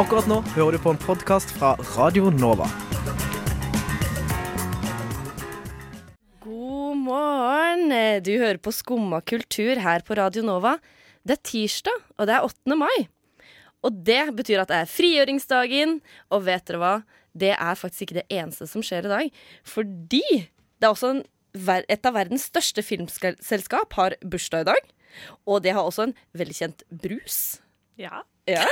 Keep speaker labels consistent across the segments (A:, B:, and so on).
A: Akkurat nå hører du på en podkast fra Radio Nova.
B: God morgen! Du hører på Skumma kultur her på Radio Nova. Det er tirsdag, og det er 8. mai. Og det betyr at det er frigjøringsdagen, og vet dere hva? Det er faktisk ikke det eneste som skjer i dag. Fordi det er også en, ver- et av verdens største filmselskap har bursdag i dag. Og det har også en velkjent brus.
C: Ja.
B: Ja.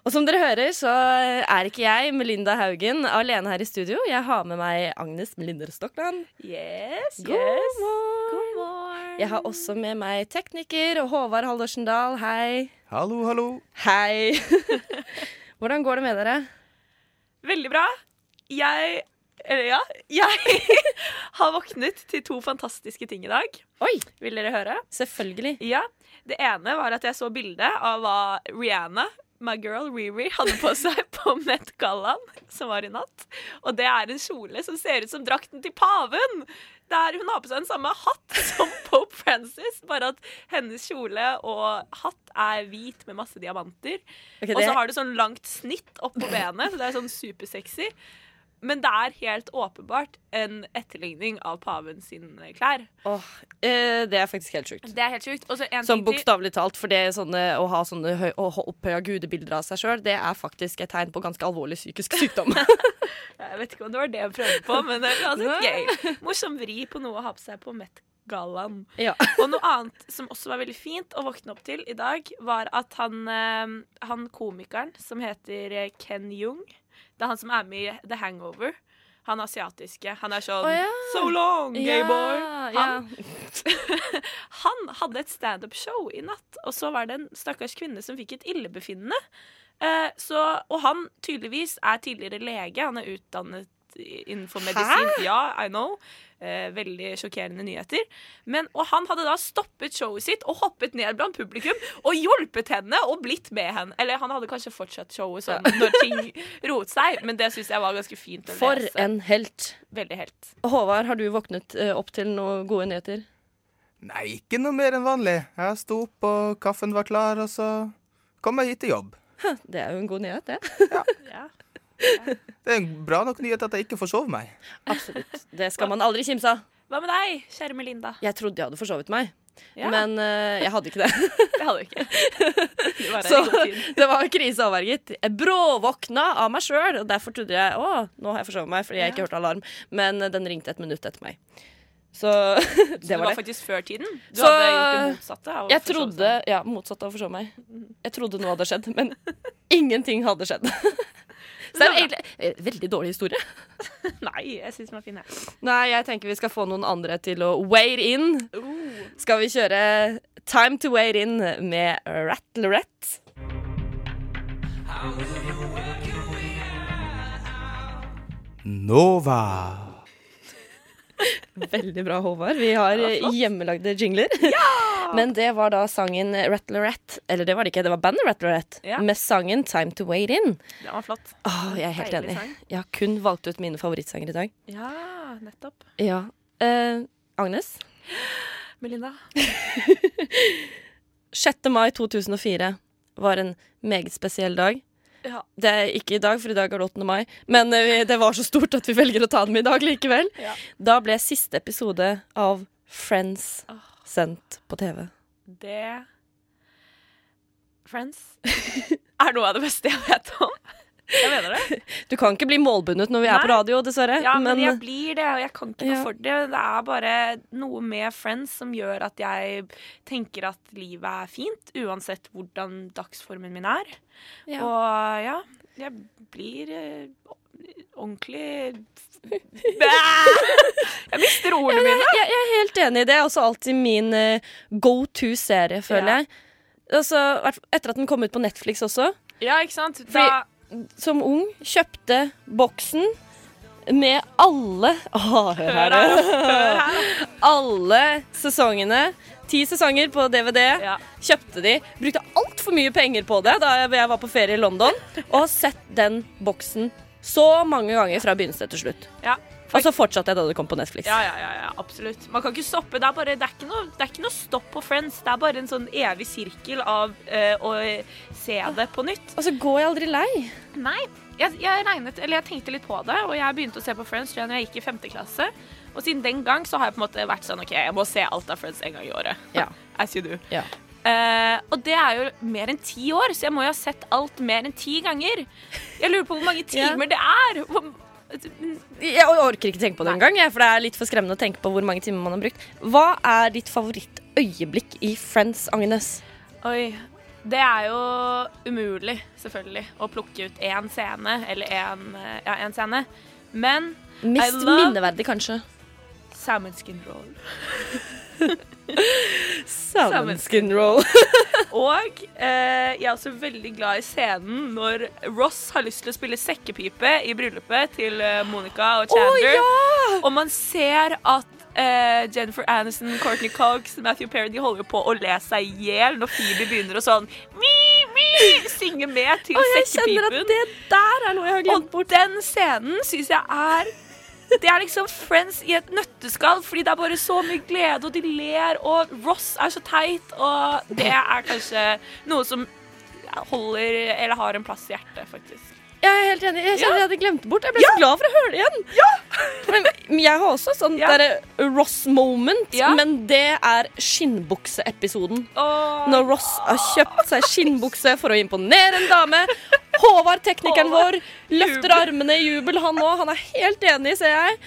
B: og som dere hører, så er ikke jeg, Melinda Haugen, alene her i studio. Jeg har med meg Agnes Melinder Stokland.
C: Yes,
B: God
C: yes.
B: morgen.
C: God morgen.
B: Jeg har også med meg tekniker og Håvard Haldorsen Dahl. Hei.
D: Hallo, hallo.
B: Hei. Hvordan går det med dere?
C: Veldig bra. Jeg Eller ja. Jeg har våknet til to fantastiske ting i dag.
B: Oi,
C: Vil dere høre?
B: selvfølgelig.
C: Ja. Det ene var at jeg så bilde av hva Rihanna My girl Riri hadde på seg på Met Gallaen, som var i natt. Og det er en kjole som ser ut som drakten til paven! Der hun har på seg den samme hatt som Pope Francis, bare at hennes kjole og hatt er hvit med masse diamanter.
B: Ok, det,
C: Og så har du sånn langt snitt opp på benet, så det er sånn supersexy. Men det er helt åpenbart en etterligning av paven sine klær.
B: Åh, eh, det er faktisk helt sjukt.
C: Det er helt sjukt. Og så en
B: Sånn
C: ting til-
B: bokstavelig talt, for det er sånne, å ha sånne høy, å ha opphøya gudebilder av seg sjøl, det er faktisk et tegn på ganske alvorlig psykisk sykdom.
C: Jeg vet ikke om det var det jeg prøvde på, men det er uansett gøy. Morsom vri på noe å ha på seg på Met-gallaen.
B: ja.
C: Og noe annet som også var veldig fint å våkne opp til i dag, var at han, eh, han komikeren som heter eh, Ken Jung Det er han som er med i The Hangover. Han asiatiske. Han er sånn
B: Å ja.
C: So long, gay boy! Han,
B: Han.
C: han hadde et standup-show i natt, og så var det en stakkars kvinne som fikk et illebefinnende. Eh, så, og han tydeligvis er tidligere lege. Han er utdannet i- innenfor medisin. Ja, I know. Eh, veldig sjokkerende nyheter. Men, og han hadde da stoppet showet sitt og hoppet ned blant publikum og hjulpet henne og blitt med henne. Eller han hadde kanskje fortsatt showet sånn når ting roet seg, men det syns jeg var ganske fint å
B: For
C: lese.
B: en helt.
C: Veldig helt.
B: Håvard, har du våknet eh, opp til noen gode nyheter?
D: Nei, ikke noe mer enn vanlig. Jeg sto opp, og kaffen var klar, og så kom jeg hit til jobb.
B: Det er jo en god nyhet, det.
C: Ja.
D: Det er en bra nok nyhet at jeg ikke forsov meg.
B: Absolutt. Det skal man aldri kimse av.
C: Hva med deg, kjære Melinda?
B: Jeg trodde jeg hadde forsovet meg,
C: Ja,
B: men eh, jeg hadde ikke det.
C: det hadde du ikke. Du var her
B: Så-
C: i god tid.
B: Det var krise avverget. Jeg bråvåkna av meg sjøl, og derfor trodde jeg å, nå har jeg forsovet meg fordi jeg ikke hørte alarm. Men eh, den ringte et minutt etter meg. Så det
C: Det var,
B: var det.
C: faktisk før tiden. Du
B: Så-
C: hadde gjort det motsatte. av å
B: Jeg
C: forsove
B: trodde
C: seg. Mhm.
B: Ja, motsatt av å forsove meg. Jeg trodde noe hadde skjedd, men ingenting hadde skjedd. Så det er
C: Men det
B: egentlig eh, veldig dårlig historie.
C: sånn. Nei, jeg syns den var fin, jeg.
B: Nei, jeg tenker vi skal få noen andre til å wade in.
C: Oh,
B: Skal vi kjøre Time to wade in med Rattlerette?
D: Nova.
B: Veldig bra, Håvard. Vi har
C: var flott.
B: hjemmelagde jingler. Men det var da sangen Rattlerette Eller det var det ikke, det var bandet Rattlerette
C: Ja.
B: med sangen Time to Wade In.
C: Den var flott.
B: Åh, jeg er helt
C: Deilig
B: enig.
C: sang.
B: Jeg har kun valgt ut mine favorittsanger i dag.
C: Ja, nettopp.
B: Ja. Eh, Agnes?
C: Melinda.
B: 6. mai 2004 var en meget spesiell dag.
C: Ja.
B: Det er ikke i dag, for i dag er det 8. mai, men eh, det var så stort at vi velger å ta den med i dag likevel.
C: Ja.
B: Da ble siste episode av Friends
C: Åh.
B: sendt på TV.
C: Det Friends er noe av det beste jeg vet om. Jeg mener det.
B: Du kan ikke bli målbundet når vi er på
C: Nei.
B: radio, dessverre.
C: Ja, men,
B: men
C: jeg blir det, og jeg kan ikke noe
B: Ja.
C: for det. Det er bare noe med Friends som gjør at jeg tenker at livet er fint, uansett hvordan dagsformen min er.
B: Ja.
C: Og ja, jeg blir eh, ordentlig Jeg mister ordene mine.
B: jeg, jeg er helt enig. Det er også alltid min eh, go to-serie, føler
C: Ja.
B: jeg. Altså, hvert- etter at den kom ut på Netflix også.
C: Ja, ikke sant?
B: Da- Som ung kjøpte boksen med alle Å, hør her, eh.
C: Hør her,
B: Alle sesongene. Ti sesonger på DVD.
C: Ja.
B: Kjøpte de. Brukte altfor mye penger på det da jeg jeg var på ferie i London. Og har sett den boksen så mange ganger fra begynnelse til slutt.
C: ja.
B: Og så fortsatte jeg da det kom på Netflix.
C: Ja, ja, ja, ja, absolutt. Man kan ikke stoppe. Det er, bare, det, er ikke noe, det er ikke noe stopp på Friends. Det er bare en sånn evig sirkel av eh, å se det på nytt.
B: Og så går jeg aldri lei.
C: Nei, jeg, jeg regnet, eller jeg tenkte litt på det, og jeg begynte å se på Friends tror jeg, når jeg gikk i femte klasse. Og siden den gang så har jeg på en måte vært sånn OK, jeg må se alt av Friends en gang i året.
B: Ja.
C: As you do.
B: Ja.
C: Eh, og det er jo mer enn ti år, så jeg må jo ha sett alt mer enn ti ganger. Jeg lurer på hvor mange
B: Ja.
C: timer det er. Hvor,
B: Jeg orker ikke tenke på det engang, jeg, for det er litt for skremmende å tenke på hvor mange timer man har brukt. Hva er ditt favorittøyeblikk i Friends, Agnes?
C: Oi. Det er jo umulig, selvfølgelig, å plukke ut én scene, eller én ja, én scene. Men
B: Mest
C: I love-
B: minneverdig, kanskje.
C: salmon skin roll.
B: Salmon
C: Salmon
B: skin roll.
C: Og eh, jeg er også veldig glad i scenen når Ross har lyst til å spille sekkepipe i bryllupet til eh, Monica og Chandler. Og man ser at eh, Jennifer Aniston, Courtney Cox, Matthew Perry de holder jo på å le seg i hjel når Phoebe begynner å sånn mi, mi, synge med til
B: Og jeg kjenner at
C: sekkepipen.
B: det der er noe jeg har glemt.
C: Og den scenen syns jeg er Det er liksom Friends i et nøtteskall, fordi det er bare så mye glede, og de ler, og Ross er så teit, og det er kanskje noe som holder Eller har en plass i hjertet, faktisk.
B: Jeg er helt enig. Jeg kjenner jeg hadde glemt det bort. Jeg ble så glad for å høre det igjen. Men men jeg har også sånn
C: Ja.
B: derre Ross moment,
C: Ja.
B: men det er skinnbukseepisoden.
C: Og
B: Når Ross har kjøpt seg skinnbukse for å imponere en dame. Håvard, teknikeren vår, løfter
C: Jubel.
B: armene i jubel, han òg. Han er helt enig, ser jeg.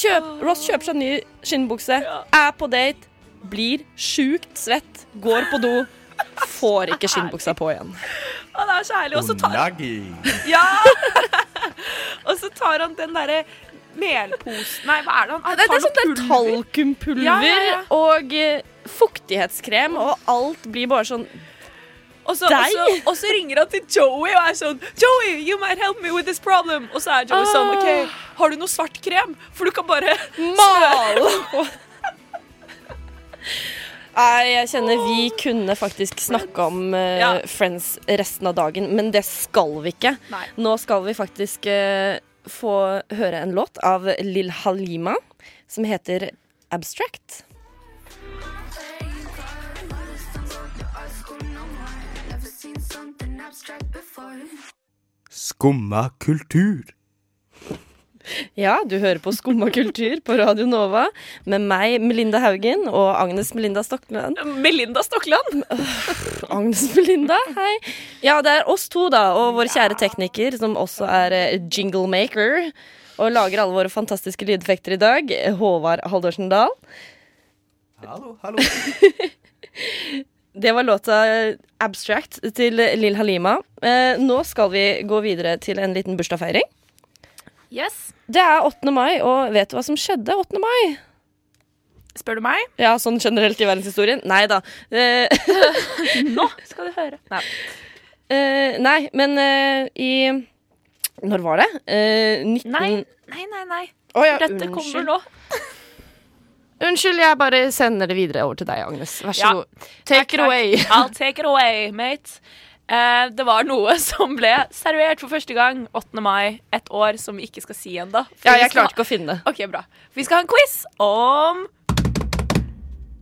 B: Kjøp, Ross kjøper seg ny skinnbukse,
C: Ja.
B: er på date, blir sjukt svett, går på do. Får ikke skinnbuksa på igjen.
C: Å, det er så herlig. Og så tar,
D: Onagi.
C: ja. og så tar han den derre melposen Nei, hva er det han han
B: Det, det
C: tar
B: er sånn der
C: noe pulver.
B: talkumpulver
C: Ja, ja, ja.
B: og eh, fuktighetskrem, og alt blir bare sånn
C: Og så, og,
B: Deg?
C: så, og så ringer han til Joey og er sånn Joey, you might help me with this problem. Og så er Joey sånn
B: Ah.
C: OK, har du noe svart krem? For du kan bare
B: mal. Nei, jeg kjenner vi kunne faktisk snakke om eh,
C: Ja.
B: Friends resten av dagen, men det skal vi ikke.
C: Nei.
B: Nå skal vi faktisk eh, få høre en låt av Lil Halima som heter Abstract.
D: Skumma kultur.
B: Ja, du hører på Skumma kultur på Radio Nova med meg, Melinda Haugen, og Agnes Melinda Stokland.
C: Melinda Stokland.
B: Agnes Melinda, hei. Ja, det er oss to, da, og vår kjære tekniker, som også er eh, jinglemaker. Og lager alle våre fantastiske lydeffekter i dag. Håvard Haldorsen Dahl.
D: Hallo, hallo.
B: Det var låta eh, 'Abstract' til Lill Halima. Eh, nå skal vi gå videre til en liten bursdagsfeiring.
C: Yes.
B: Det er 8. mai, og vet du hva som skjedde 8. mai?
C: Spør du meg?
B: Ja, sånn generelt i verdenshistorien? Nei da. Eh,
C: Nå skal du høre. Nei.
B: eh, nei, men eh, i Når var det? Eh, 19...
C: Nei, nei, nei. nei.
B: Å ja,
C: Dette
B: unnskyld.
C: kommer nå.
B: Unnskyld, jeg bare sender det videre over til deg, Agnes. Vær så
C: Ja.
B: god. Take it away.
C: I'll take it away, mate. Eh, det var noe som ble servert for første gang 8. mai et år som vi ikke skal si ennå.
B: Ja, jeg klarte ikke å finne det.
C: OK, bra. Vi skal ha en quiz om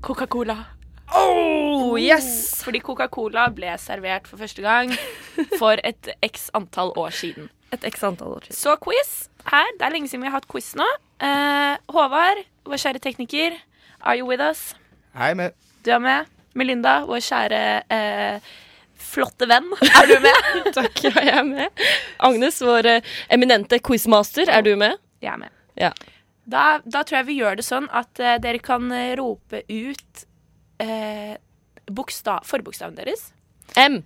C: Coca-Cola.
B: Oh, yes!
C: Fordi Coca-Cola ble servert for første gang for et x antall år siden.
B: Et x antall år siden.
C: Så quiz her. Det er lenge siden vi har hatt quiz nå. Eh, Håvard, vår kjære tekniker, are you with us?
D: Jeg er med.
C: Du er med. Melinda, vår kjære eh, flotte venn, er du med?
B: Takk, ja, jeg er med. Agnes, vår eh, eminente quizmaster, er du med?
C: Jeg er med.
B: Ja.
C: Da, da tror jeg vi gjør det sånn at eh, dere kan eh, rope ut eh, boksta- forbokstaven deres.
B: M.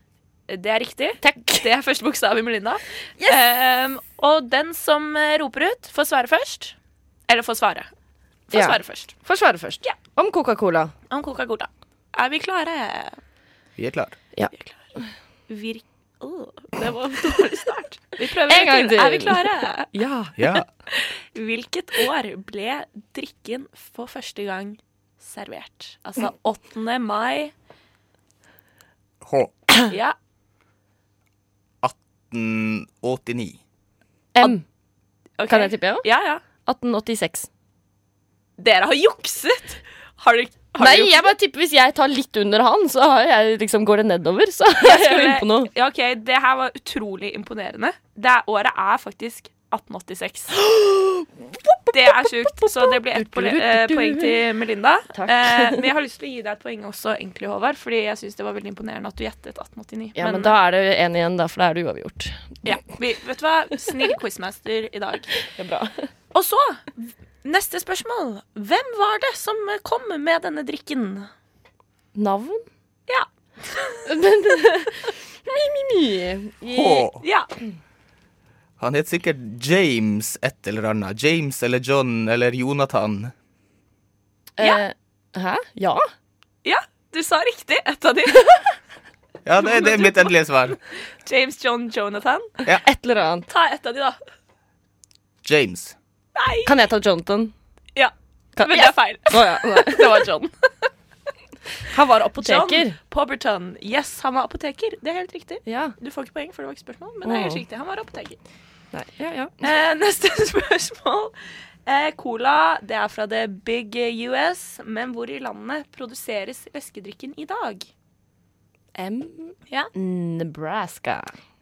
C: Det er riktig.
B: Takk.
C: Det er første bokstav i Melinda. Ehm, og den som eh, roper ut, får svare først. Eller får svare. Får
B: Ja.
C: svare først.
B: Får svare først.
C: Ja.
B: Om Coca-Cola.
C: Om Coca-Cola. Er vi klare?
D: Vi er klar.
C: Virk... Åh, det var en dårlig start. Vi prøver
B: En gang til.
C: Er vi klare?
B: Ja.
D: Ja.
C: Hvilket år ble drikken for første gang servert? Altså 8. mai.
D: H.
C: Ja.
D: 1889.
B: M.
C: ok.
B: Kan jeg tippe, ja?
C: Ja, ja.
B: 1886.
C: Dere har jukset! Har dere, har
B: Nei,
C: dere jukset?
B: jeg bare tipper hvis jeg tar litt under han, så har jeg, liksom, går det nedover. Så jeg er jeg
C: skulle-
B: inne på noe.
C: Ja, OK, det her var utrolig imponerende. Det året er faktisk 1886. Det er sjukt, så det blir ett pole- eh, poeng til Melinda.
B: Takk.
C: Eh, men jeg har lyst til å gi deg et poeng også, egentlig, Håvard, fordi jeg syns det var veldig imponerende at du gjettet 1889.
B: Ja, men, da er det én igjen, da, for da er det uavgjort.
C: ja, vi, vet du hva? Snill quizmaster i dag.
B: Det er bra.
C: Og så, neste spørsmål. Hvem var det som kom med denne drikken?
B: Navn?
C: Ja.
B: Men Mi, mi, mi.
D: H.
C: Ja,
D: Han het sikkert James et eller annet. James eller John eller Jonathan.
B: Eh, Hæ? Ja?
C: ja du sa riktig. Et av de.
D: Ja, det, det er mitt endelige svar.
C: James John Jonathan.
B: Et eller annet.
C: Ta et av de, da.
D: James.
C: Nei!
B: Kan jeg ta Jonathan?
C: Ja,
B: Kan,
C: men det er feil.
B: Å, ja. Nei.
C: Det var John.
B: Han var
C: John
B: apoteker.
C: Pobberton. Yes, han var apoteker. Det er helt riktig.
B: Ja.
C: Du får ikke poeng, for det var ikke spørsmål, men det er
B: Åh.
C: helt riktig. Han var apoteker.
B: Nei. ja, ja.
C: Eh, neste spørsmål. Eh, cola det er fra The Big US, men hvor i landet produseres leskedrikken i dag?
B: M.
C: Ja.
B: Nebraska.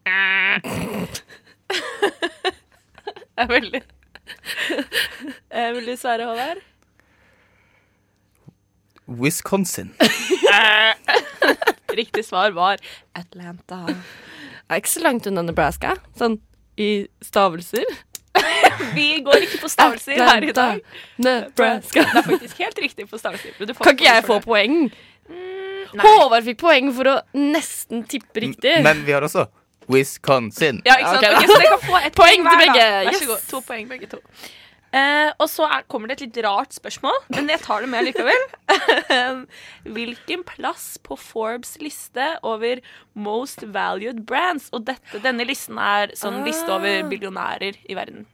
C: Det er veldig eh, Vil du svare, Håvard?
D: Wisconsin.
C: Riktig svar var Atlanta.
B: Det er ikke så langt unna Nebraska. Sånn i stavelser.
C: Vi går ikke på stavelser her i dag.
B: Nebraska.
C: Det er faktisk helt riktig på stavelser. men du får
B: Kan ikke jeg
C: poeng for
B: få
C: det.
B: poeng?
C: Nei.
B: Håvard fikk poeng for å nesten tippe riktig.
D: Men vi har også Wisconsin.
C: Ja, ikke sant?
B: Ja, ok, da.
C: Ok, så dere kan få ett
B: Poeng til
C: hver, da.
B: begge,
C: Vær
B: yes.
C: så god. To poeng begge to. Eh, og så er, kommer det et litt rart spørsmål, men jeg tar det med likevel. Hvilken plass på Forbes liste over Most Valued Brands Og dette, denne listen er sånn liste
B: Ah.
C: over billionærer i verden,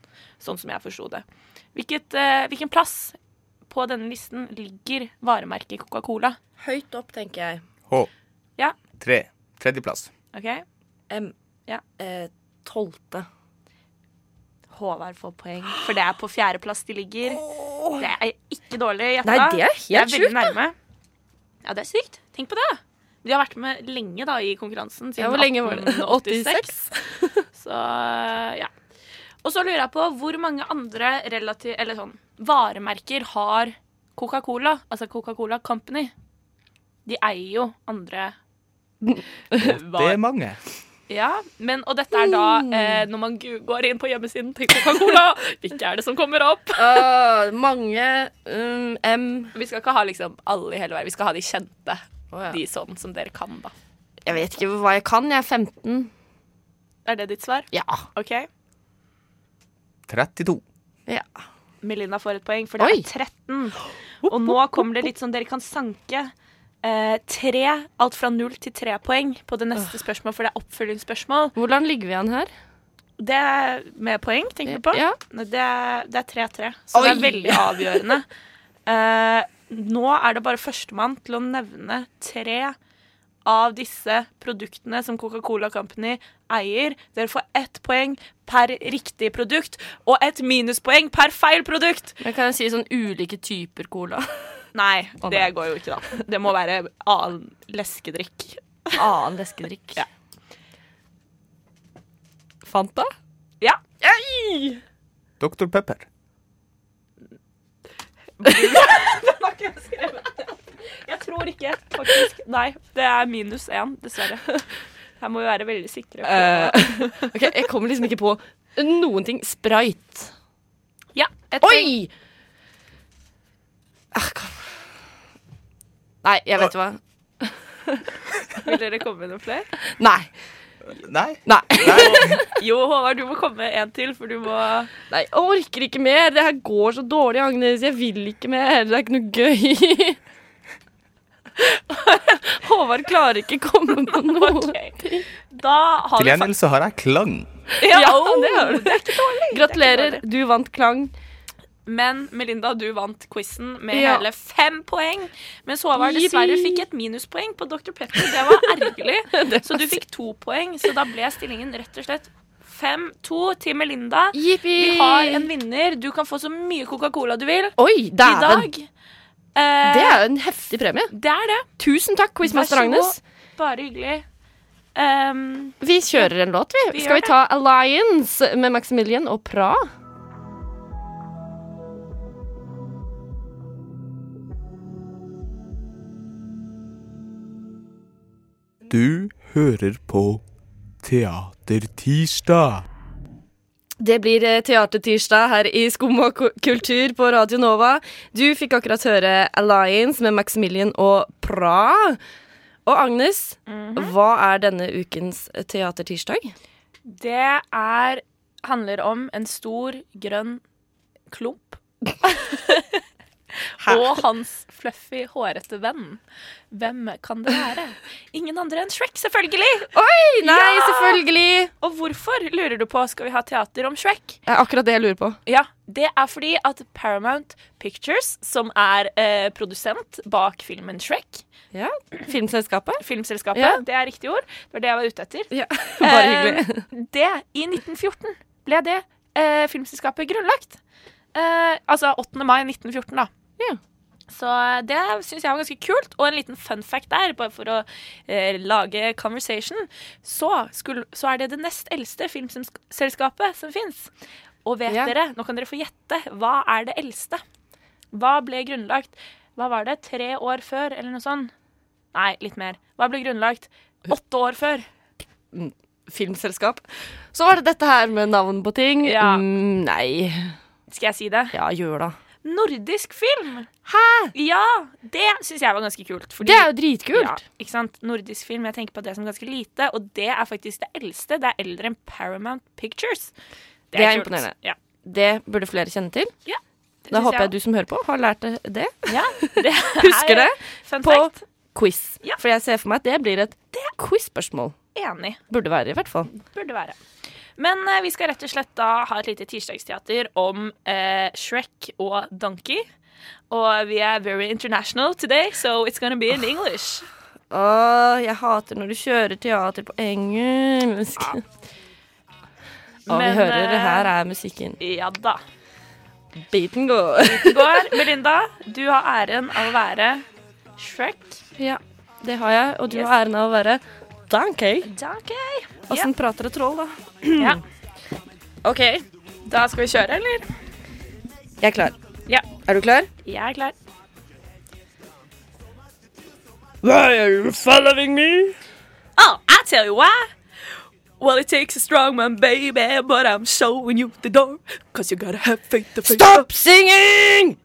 C: sånn som jeg forsto det. Hvilket, eh, hvilken plass på denne listen ligger varemerket Coca-Cola?
B: Høyt opp, tenker jeg.
D: H.
C: Ja.
D: Tre. Tredjeplass.
C: OK?
B: M.
C: Ja.
B: Eh, tolvte.
C: Håvard får poeng, for det er på fjerdeplass de ligger. Det er ikke dårlig gjetta.
B: Nei, det er helt
C: Det er veldig
B: sjukt,
C: nærme. Ja, det er sykt. Tenk på det. De har vært med lenge da i konkurransen. Siden
B: Ja, hvor lenge var det?
C: 1886. Så ja. Og så lurer jeg på hvor mange andre relativ, eller sånn, varemerker har Coca-Cola, altså Coca-Cola Company? De eier jo andre
D: Det er mange.
C: ja, men, og dette er da
B: Mm.
C: eh, når man gu- går inn på hjemmesiden til Coca-Cola. Hvilke er det som kommer opp?
B: Åh, mange um, M.
C: Vi skal ikke ha liksom alle i hele verden. Vi skal ha de kjente.
B: Å, ja.
C: De sånn som dere kan, da.
B: Jeg vet ikke hva jeg kan. Jeg er 15.
C: Er det ditt svar?
B: Ja.
C: OK.
D: 32.
B: ja.
C: Melinda får et poeng, for det
B: Oi.
C: er 13. Og nå kommer det litt sånn dere kan sanke. Eh, tre, alt fra null til tre poeng på det neste spørsmålet, for det er oppfølgingsspørsmål.
B: Hvordan ligger vi an her?
C: Det er med poeng, tenker du på?
B: Ja.
C: Nei, Det er det er 3-3, så det er
B: Oi!
C: veldig avgjørende. Eh, nå er det bare førstemann til å nevne tre av disse produktene som Coca-Cola Company eier. Dere får ett poeng per riktig produkt og ett minuspoeng per feil produkt.
B: Men kan jeg si sånn ulike typer cola?
C: Nei,
B: Å,
C: det
B: nei.
C: går jo ikke, da. Det må være annen leskedrikk.
B: Annen leskedrikk.
C: Ja.
B: Fanta?
C: Ja.
D: Dr. Pepper.
C: Den har ikke jeg skrevet. Jeg tror ikke, faktisk. Nei, det er minus én, dessverre. Her må vi være veldig sikre. på-
B: Eh. ok, Jeg kommer liksom ikke på noen ting. Sprite.
C: Ja, et poeng.
B: Oi! Ah, kom. Nei, jeg vet hva.
C: Vil dere komme med noen flere?
B: Nei.
D: Nei.
B: Nei.
C: Jo, Håvard, du må komme med en til, for du må
B: Nei, Jeg orker ikke mer. Det her går så dårlig, Agnes. Jeg vil ikke mer. Det er ikke noe gøy. Håvard klarer ikke komme på noe.
C: Ok. Da har
D: Til
C: vi
D: gjengjeld så har jeg klang.
C: Ja,
B: Ja,
C: oh,
B: det har du.
C: det er ikke dårlig.
B: Gratulerer. Du vant Klang.
C: Men Melinda, du vant quizen med
B: Ja.
C: hele fem poeng. Mens Håvard
B: Jippi.
C: dessverre fikk et minuspoeng på Dr. Pepper. Det var ergerlig. Så du fikk to poeng, så da ble stillingen rett og slett 5-2 til Melinda.
B: Jippi!
C: Vi har en vinner. Du kan få så mye Coca-Cola du vil
B: Oi,
C: i
B: dæven!
C: dag. Eh,
B: Det er jo en heftig premie.
C: det er det.
B: Tusen takk, quizmaster
C: Vær så god.
B: Agnes.
C: Bare hyggelig. Um,
B: Vi kjører en låt, vi.
C: Vi
B: Skal
C: gjør
B: vi ta Alliance med Maximilian og Pra?
D: Du hører på Teatertirsdag.
B: Det blir eh, Teatertirsdag her i Skum og ku- kultur på Radio Nova. Du fikk akkurat høre Alliance med Maximilian og Pra. Og Agnes, hva er denne ukens eh, Teatertirsdag?
C: det er handler om en stor, grønn klump. Og hans fluffy, hårete venn. Hvem kan det være? Ingen andre enn Shrek, selvfølgelig!
B: Nei,
C: Ja!
B: selvfølgelig!
C: Og hvorfor, lurer du på, skal vi ha teater om Shrek?
B: Det er akkurat det jeg lurer på.
C: Ja, det er fordi at Paramount Pictures, som er eh, produsent bak filmen Shrek,
B: Ja, Filmselskapet?
C: filmselskapet,
B: Ja.
C: det er riktig ord, det var det jeg var ute etter,
B: Ja, Bare hyggelig.
C: det, i 1914 ble det eh, filmselskapet grunnlagt. Eh, altså 8. mai 1914, da.
B: Ja.
C: Så det syns jeg var ganske kult. Og en liten fun fact der, bare for å eh, lage conversation, så, skulle, så er det det nest eldste filmselskapet som fins. Og vet
B: Ja.
C: dere, nå kan dere få gjette, hva er det eldste? Hva ble grunnlagt? Hva var det? Tre år før, eller noe sånt? Nei, litt mer. Hva ble grunnlagt? Åtte år før.
B: Filmselskap. Så var det dette her med navn på ting.
C: Ja.
B: Mm, nei.
C: Skal jeg si det?
B: Ja, gjør da.
C: Nordisk film!
B: Hæ?
C: Ja! Det syns jeg var ganske kult. Fordi,
B: Det er jo dritkult.
C: Ja, ikke sant? Nordisk film, jeg tenker på det som ganske lite, og det er faktisk det eldste. Det er eldre enn Paramount Pictures.
B: Det er
C: kult.
B: imponerende.
C: Ja,
B: Det burde flere kjenne til.
C: det
B: Da
C: syns
B: håper jeg du som hører på, har lært det- det.
C: ja, det
B: Husker det?
C: Fun
B: På
C: fact.
B: quiz.
C: Ja.
B: For jeg ser for meg at det blir et quiz-spørsmål.
C: Enig.
B: Burde være, i hvert fall.
C: Burde være. Men eh, vi skal rett og slett da ha et lite tirsdagsteater om eh, Shrek og Donkey. Og vi er very international today, so it's gonna be in English.
B: Åh, jeg hater når du kjører teater på engelsk. Åh, vi
C: Men,
B: Ah. hører det
C: eh,
B: her er musikken.
C: Ja da.
B: Beaten går.
C: Det går. Melinda, du har æren av å være Shrek.
B: ja, det har jeg. Og du
C: Yes.
B: har æren av å være Donkey.
C: Donkey.
B: Åssen prater et troll, da?
C: Ja.
B: OK,
C: Da skal vi kjøre, eller?
B: jeg er klar.
C: Ja.
B: Er du klar?
C: Jeg er klar.
B: Why are you following me?
C: Oh, I tell you why. Well, it takes a strong man, baby, but I'm showing you the door. Cause you gotta have faith to face
B: Stop singing!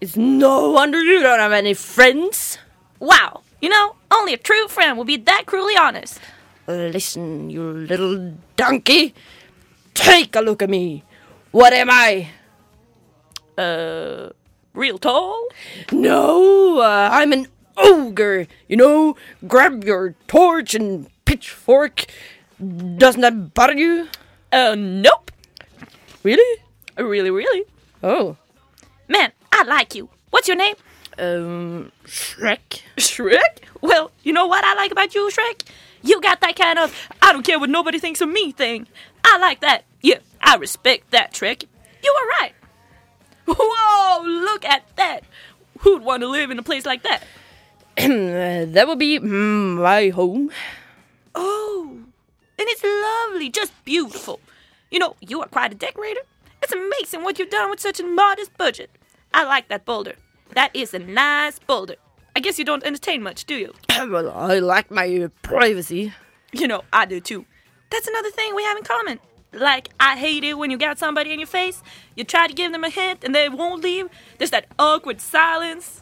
B: It's no wonder you don't have any friends.
C: Wow. You know, only a true friend will be that cruelly honest.
B: Uh, Listen, you little donkey. Take a look at me. What am I?
C: Uh, real tall?
B: No, uh, I'm an ogre. You know, grab your torch and pitchfork. Doesn't that bother you?
C: Uh, nope.
B: Really?
C: Really, really.
B: Oh,
C: Man, I like you. What's your name?
B: um, Shrek.
C: Shrek? Well, you know what I like about you, Shrek? You got that kind of I don't care what nobody thinks of me thing. I like that. Yeah, I respect that, Shrek. You are right. Whoa, look at that. Who'd want to live in a place like that?
B: Uh, that would be mm, my home.
C: Oh, and it's lovely, just beautiful. You know, you are quite a decorator. It's amazing what you've done with such a modest budget. I like that boulder. That is a nice boulder. I guess you don't entertain much, do you?
B: well, I like my privacy.
C: You know, I do too. That's another thing we have in common. Like, I hate it when you got somebody in your face, you try to give them a hint and they won't leave. There's that awkward silence.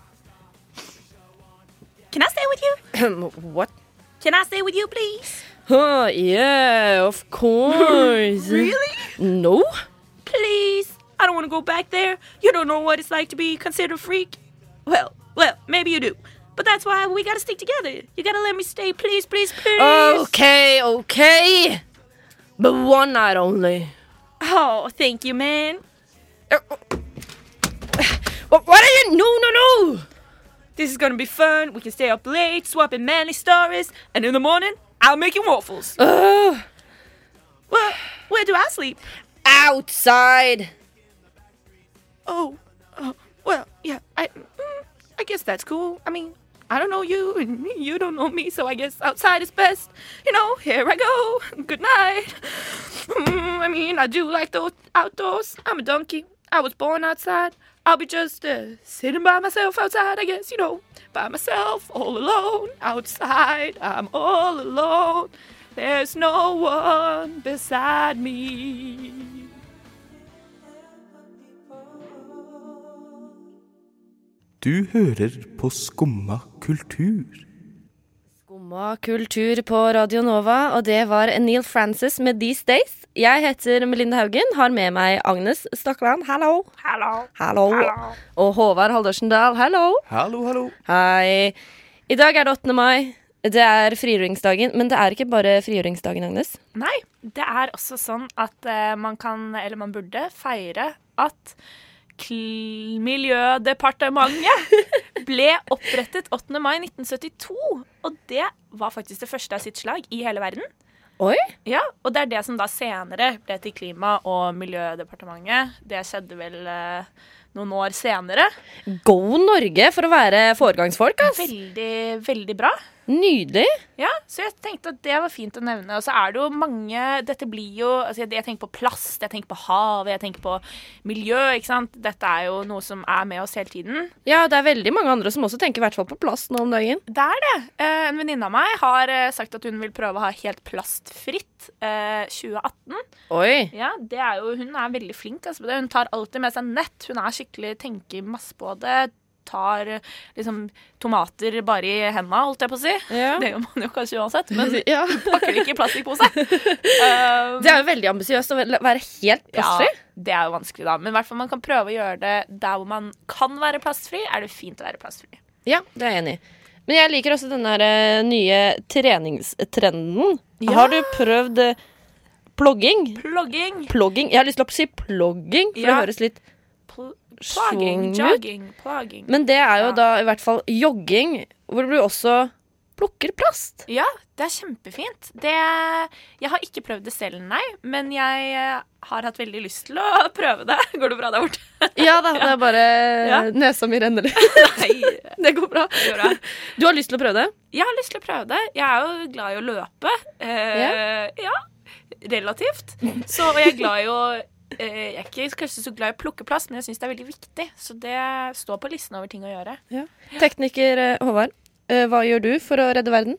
C: Can I stay with you?
B: what?
C: Can I stay with you, please?
B: Huh, yeah, of course.
C: Really?
B: No.
C: Please? I don't want to go back there. You don't know what it's like to be considered a freak. Well, well, maybe you do. But that's why we gotta stick together. You gotta let me stay, please, please, please.
B: Okay, okay. But one night only.
C: Oh, thank you, man.
B: What, what are you? No, no, no.
C: This is gonna be fun. We can stay up
B: Uh.
C: late, swapping manly stories, and in the morning, I'll make you waffles.
B: Ugh.
C: Well, where do I sleep?
B: Outside!
C: Oh, oh well, yeah. I, mm, I guess that's cool. I mean, I don't know you, and you don't know me, so I guess outside is best. You know, here I go. Good night. Mm, I mean, I do like those outdoors. I'm a donkey. I was born outside. I'll be just uh, sitting by myself outside, I guess, you know, by myself, all alone, outside. I'm all alone. There's no one beside me.
D: Du hører på Skumma kultur.
B: Skumma kultur på Radio Nova, og det var Neil Francis med These Days. Jeg heter Melinda Haugen, har med meg Agnes Stokland, hallo.
C: Hello.
B: Hallo. Og Håvard Haldorsen Dahl, hallo.
D: Hallo, hallo.
B: Hei. I dag er det 8. mai. Det er frigjøringsdagen, men det er ikke bare frigjøringsdagen, Agnes.
C: Nei, det er også sånn at eh, man kan, eller man burde, feire at kl Miljødepartementet ble opprettet 8. mai 1972. Og det var faktisk det første av sitt slag i hele verden.
B: Oi.
C: Ja, Og det er det som da senere ble til Klima- og miljødepartementet. Det skjedde vel eh, noen år senere.
B: Go Norge for å være foregangsfolk, ass.
C: Veldig, veldig bra.
B: Nydelig.
C: Ja, så jeg tenkte at det var fint å nevne. Og så er det jo mange Dette blir jo altså Jeg jeg tenker på plast, jeg tenker på havet, jeg tenker på miljø, ikke sant. Dette er jo noe som er med oss hele tiden.
B: Ja, det er veldig mange andre som også tenker i hvert fall på plast nå om dagen.
C: Det er det. Eh, En venninne av meg har eh, sagt at hun vil prøve å ha helt plastfritt eh, 2018.
B: Oi.
C: Ja, det er jo Hun er veldig flink altså, på det. Hun tar alltid med seg nett. Hun er skikkelig tenker masse på det. Tar eh, liksom tomater bare i henda, holdt jeg på å si.
B: Ja.
C: Det gjør man jo kanskje uansett, men
B: ja.
C: pakker det ikke i plastikkpose. Um,
B: Det er jo veldig ambisiøst å være helt plastfri.
C: Ja, det er jo vanskelig, da. Men i hvert fall man kan prøve å gjøre det der hvor man kan være plastfri. Er det fint å være plastfri?
B: Ja, det er jeg enig i. Men jeg liker også denne her, eh, nye treningstrenden.
C: Ja.
B: Har du prøvd eh, plogging?
C: Plogging.
B: Plogging? Jeg har lyst til å si plogging, for det
C: Ja.
B: høres litt
C: Pl
B: Svung
C: plogging.
B: ut.
C: Jogging. Plogging.
B: Men det er jo
C: Ja.
B: da i hvert fall jogging, hvor du også plukker plast.
C: Ja, det er kjempefint. Det, jeg har ikke prøvd det selv, nei. Men jeg eh, har hatt veldig lyst til å prøve det. Går det bra der borte?
B: Ja da, det er bare
C: Ja.
B: nesa mi renner litt.
C: Nei, det
B: Det går bra.
C: går bra.
B: Du har lyst til å prøve det?
C: Jeg har lyst til å prøve det. Jeg er jo glad i å løpe. Eh, ja. Relativt. Så, og jeg er glad i å eh, Jeg er ikke kanskje så glad i å plukke plast, men jeg syns det er veldig viktig. Så det står på listen over ting å gjøre.
B: Tekniker eh, Håvard, eh, hva gjør du for å redde verden?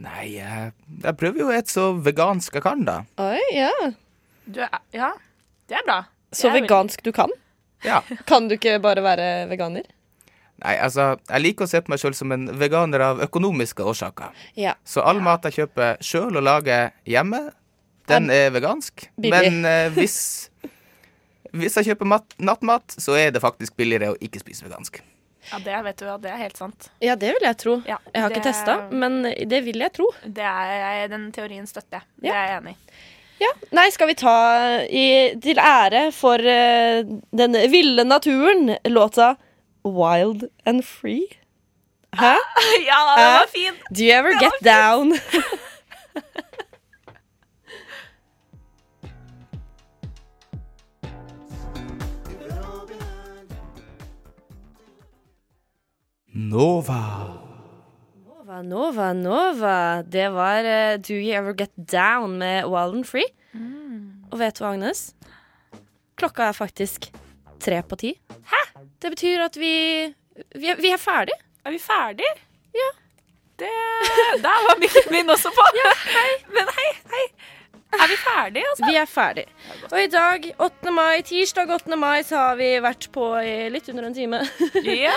D: Nei, jeg, jeg prøver jo et så vegansk jeg kan, da.
B: Oi, ja.
C: Du er, ja, det er bra.
B: Så
C: Det er
B: vegansk du kan?
D: Ja.
B: Kan du ikke bare være veganer?
D: Nei, altså, jeg liker å se på meg sjøl som en veganer av økonomiske årsaker.
B: Ja.
D: Så all mat jeg kjøper sjøl og lager hjemme, den er vegansk.
B: Billig.
D: Men eh, hvis, hvis jeg kjøper mat, nattmat, så er det faktisk billigere å ikke spise vegansk.
C: veldig- Ja, det vet du, ja, det er helt sant.
B: Ja, det vil jeg tro.
C: Ja,
B: Jeg har ikke
C: det-
B: testa, men det vil jeg tro.
C: Det er, den teorien støtter jeg. Det
B: Ja.
C: er jeg enig i.
B: Ja. Nei, skal vi ta i, til ære for eh, den ville naturen låta Wild and Free? Hæ?
C: Ja, det var fint!
B: Do you ever get down?
D: Nova.
B: Nova, Nova, Nova. Det var eh, Do You Ever Get Down med Wild and Free. Og vet du hva, Agnes? Klokka er faktisk tre på ti. Hæ? Det betyr at vi Vi er, vi er ferdig.
C: Er vi ferdig? Ja. Det, der var mikken min også på. Men hei, hei. Er vi ferdig, altså?
B: Vi er ferdig. Og i dag, 8. mai, tirsdag 8. mai, så har vi vært på i litt under en time.
C: Ja,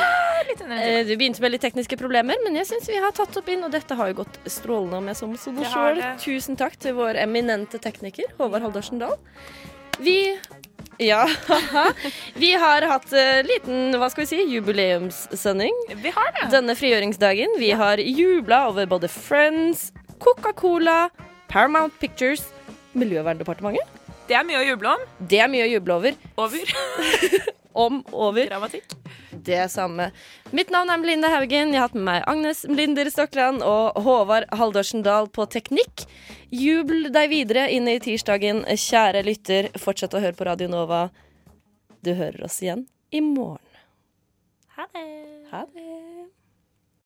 C: litt under en time.
B: Eh, Vi begynte med litt tekniske problemer, men jeg syns vi har tatt opp inn, og dette har jo gått strålende, om jeg så må si det
C: Det har
B: sjøl.
C: det.
B: Tusen takk til vår eminente tekniker, Håvard Haldorsen Dahl. Vi ja. vi har hatt eh, liten hva skal vi si, jubileumssending
C: Vi har det.
B: denne frigjøringsdagen. Vi har jubla over både Friends, Coca-Cola, Paramount Pictures, Miljøverndepartementet.
C: Det er mye å juble om.
B: Det er mye å juble over.
C: Over.
B: Om, over.
C: Dramatikk.
B: det samme. Mitt navn er Melinda Haugen. Jeg har hatt med meg Agnes Mlinder Stokland og Håvard Haldorsen Dahl på teknikk. Jubel deg videre inn i tirsdagen, kjære lytter. Fortsett å høre på Radio Nova. Du hører oss igjen i morgen.
C: Ha det.
B: Ha det.